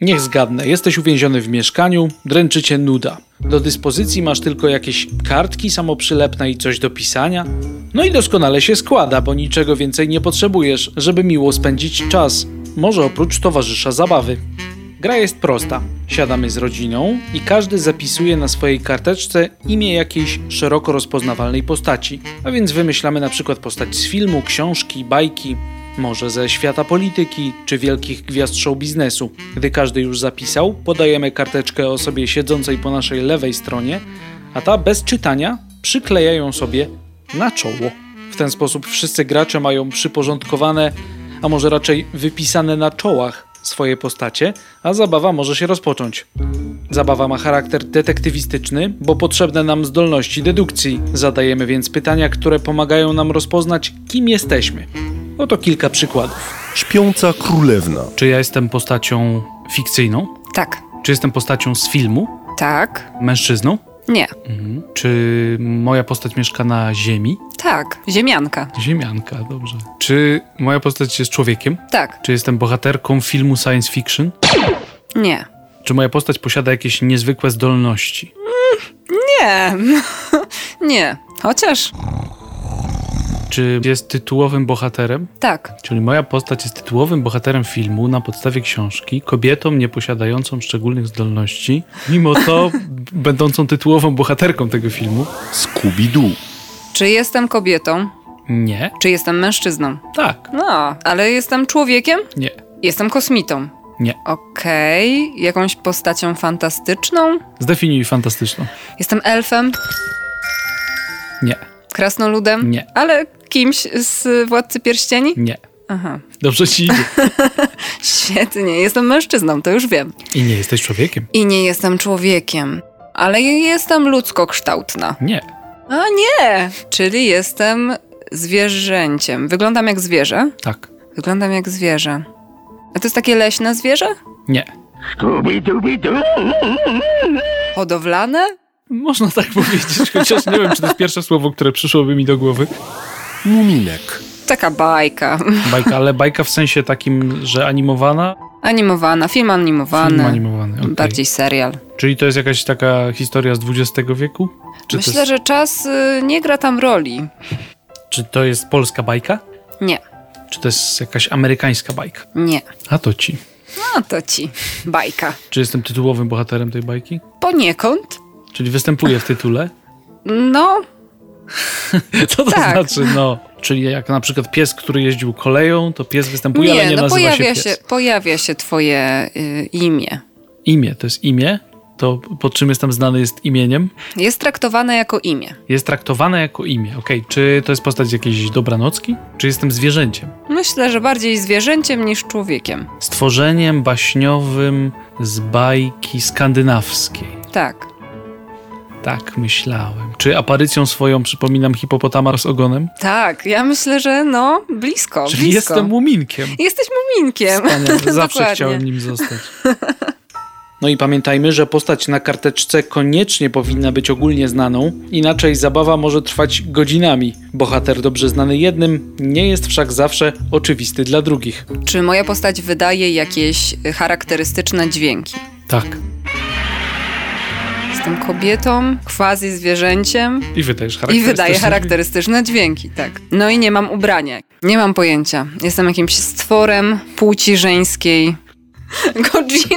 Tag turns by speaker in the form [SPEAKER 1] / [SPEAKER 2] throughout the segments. [SPEAKER 1] Niech zgadnę, jesteś uwięziony w mieszkaniu, dręczy cię nuda. Do dyspozycji masz tylko jakieś kartki samoprzylepne i coś do pisania. No i doskonale się składa, bo niczego więcej nie potrzebujesz, żeby miło spędzić czas. Może oprócz towarzysza zabawy. Gra jest prosta. Siadamy z rodziną i każdy zapisuje na swojej karteczce imię jakiejś szeroko rozpoznawalnej postaci. A więc wymyślamy na przykład postać z filmu, książki, bajki, może ze świata polityki czy wielkich gwiazd show biznesu. Gdy każdy już zapisał, podajemy karteczkę osobie siedzącej po naszej lewej stronie, a ta bez czytania przykleja ją sobie na czoło. W ten sposób wszyscy gracze mają przyporządkowane, a może raczej wypisane na czołach swoje postacie, a zabawa może się rozpocząć. Zabawa ma charakter detektywistyczny, bo potrzebne nam zdolności dedukcji. Zadajemy więc pytania, które pomagają nam rozpoznać, kim jesteśmy. Oto kilka przykładów.
[SPEAKER 2] Śpiąca królewna.
[SPEAKER 1] Czy ja jestem postacią fikcyjną?
[SPEAKER 3] Tak.
[SPEAKER 1] Czy jestem postacią z filmu?
[SPEAKER 3] Tak.
[SPEAKER 1] Mężczyzną?
[SPEAKER 3] Nie.
[SPEAKER 1] Mhm. Czy moja postać mieszka na Ziemi?
[SPEAKER 3] Tak. Ziemianka.
[SPEAKER 1] Ziemianka, dobrze. Czy moja postać jest człowiekiem?
[SPEAKER 3] Tak.
[SPEAKER 1] Czy jestem bohaterką filmu science fiction?
[SPEAKER 3] Nie.
[SPEAKER 1] Czy moja postać posiada jakieś niezwykłe zdolności?
[SPEAKER 3] Nie. nie. Chociaż.
[SPEAKER 1] Czy jest tytułowym bohaterem?
[SPEAKER 3] Tak.
[SPEAKER 1] Czyli moja postać jest tytułowym bohaterem filmu na podstawie książki, kobietą nieposiadającą szczególnych zdolności, mimo to będącą tytułową bohaterką tego filmu?
[SPEAKER 2] Scooby-Doo.
[SPEAKER 3] Czy jestem kobietą?
[SPEAKER 1] Nie.
[SPEAKER 3] Czy jestem mężczyzną?
[SPEAKER 1] Tak.
[SPEAKER 3] No, ale jestem człowiekiem?
[SPEAKER 1] Nie.
[SPEAKER 3] Jestem kosmitą.
[SPEAKER 1] Nie.
[SPEAKER 3] Okej. Jakąś postacią fantastyczną?
[SPEAKER 1] Zdefiniuj fantastyczną.
[SPEAKER 3] Jestem elfem?
[SPEAKER 1] Nie.
[SPEAKER 3] Krasnoludem?
[SPEAKER 1] Nie.
[SPEAKER 3] Ale kimś z Władcy Pierścieni?
[SPEAKER 1] Nie.
[SPEAKER 3] Aha.
[SPEAKER 1] Dobrze ci idzie.
[SPEAKER 3] Świetnie. Jestem mężczyzną, to już wiem.
[SPEAKER 1] I nie jesteś człowiekiem.
[SPEAKER 3] I nie jestem człowiekiem. Ale jestem ludzkokształtna.
[SPEAKER 1] Nie.
[SPEAKER 3] A nie! Czyli jestem zwierzęciem. Wyglądam jak zwierzę.
[SPEAKER 1] Tak.
[SPEAKER 3] Wyglądam jak zwierzę. A to jest takie leśne zwierzę?
[SPEAKER 1] Nie.
[SPEAKER 3] Hodowlane?
[SPEAKER 1] Można tak powiedzieć, chociaż nie wiem, czy to jest pierwsze słowo, które przyszłoby mi do głowy.
[SPEAKER 2] Muminek.
[SPEAKER 3] Taka bajka.
[SPEAKER 1] Bajka, ale bajka w sensie takim, że animowana?
[SPEAKER 3] Animowana, film animowany.
[SPEAKER 1] Film animowany. okej.
[SPEAKER 3] Bardziej serial.
[SPEAKER 1] Czyli to jest jakaś taka historia z XX wieku? Czy
[SPEAKER 3] Myślę,
[SPEAKER 1] to jest,
[SPEAKER 3] że czas y, nie gra tam roli.
[SPEAKER 1] Czy to jest polska bajka?
[SPEAKER 3] Nie,
[SPEAKER 1] Czy to jest jakaś amerykańska bajka?
[SPEAKER 3] nie.
[SPEAKER 1] A to ci.
[SPEAKER 3] No to ci. Bajka.
[SPEAKER 1] Czy jestem tytułowym bohaterem tej bajki?
[SPEAKER 3] Poniekąd?
[SPEAKER 1] Czyli występuję w tytule?
[SPEAKER 3] No,
[SPEAKER 1] Co to
[SPEAKER 3] Tak.
[SPEAKER 1] znaczy, no? Czyli jak na przykład pies, który jeździł koleją, to pies występuje, ale
[SPEAKER 3] nie,
[SPEAKER 1] nie
[SPEAKER 3] no
[SPEAKER 1] nazywa
[SPEAKER 3] pojawia
[SPEAKER 1] się
[SPEAKER 3] się,
[SPEAKER 1] pies.
[SPEAKER 3] pojawia się twoje y, imię.
[SPEAKER 1] Imię, to jest imię, to pod czym jestem znany jest imieniem.
[SPEAKER 3] Jest traktowane jako imię.
[SPEAKER 1] Jest traktowane jako imię, okej. Czy to jest postać jakiejś dobranocki? Czy jestem zwierzęciem?
[SPEAKER 3] Myślę, że bardziej zwierzęciem niż człowiekiem.
[SPEAKER 1] Stworzeniem baśniowym z bajki skandynawskiej.
[SPEAKER 3] Tak.
[SPEAKER 1] Tak myślałem. Czy aparycją swoją przypominam hipopotama z ogonem?
[SPEAKER 3] Tak, ja myślę, że no, blisko.
[SPEAKER 1] Czyli
[SPEAKER 3] blisko.
[SPEAKER 1] jestem muminkiem.
[SPEAKER 3] Jesteś muminkiem.
[SPEAKER 1] Wspaniale, zawsze
[SPEAKER 3] Dokładnie.
[SPEAKER 1] chciałem nim zostać. No i pamiętajmy, że postać na karteczce koniecznie powinna być ogólnie znaną, inaczej zabawa może trwać godzinami. Bohater dobrze znany jednym nie jest wszak zawsze oczywisty dla drugich.
[SPEAKER 3] Czy moja postać wydaje jakieś charakterystyczne dźwięki?
[SPEAKER 1] Tak.
[SPEAKER 3] Jestem kobietą, quasi zwierzęciem
[SPEAKER 1] I wydajesz
[SPEAKER 3] i
[SPEAKER 1] charakterystyczny.
[SPEAKER 3] wydaje charakterystyczne dźwięki, tak. No i nie mam ubrania. Nie mam pojęcia. Jestem jakimś stworem płci żeńskiej. Godzilla.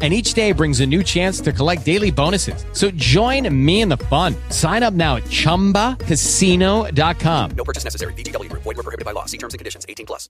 [SPEAKER 4] And each day brings a new chance to collect daily bonuses. So join me in the fun. Sign up now at chumbacasino.com.
[SPEAKER 5] No purchase necessary. VGW Group. Void were prohibited by law. See terms and conditions. 18 plus.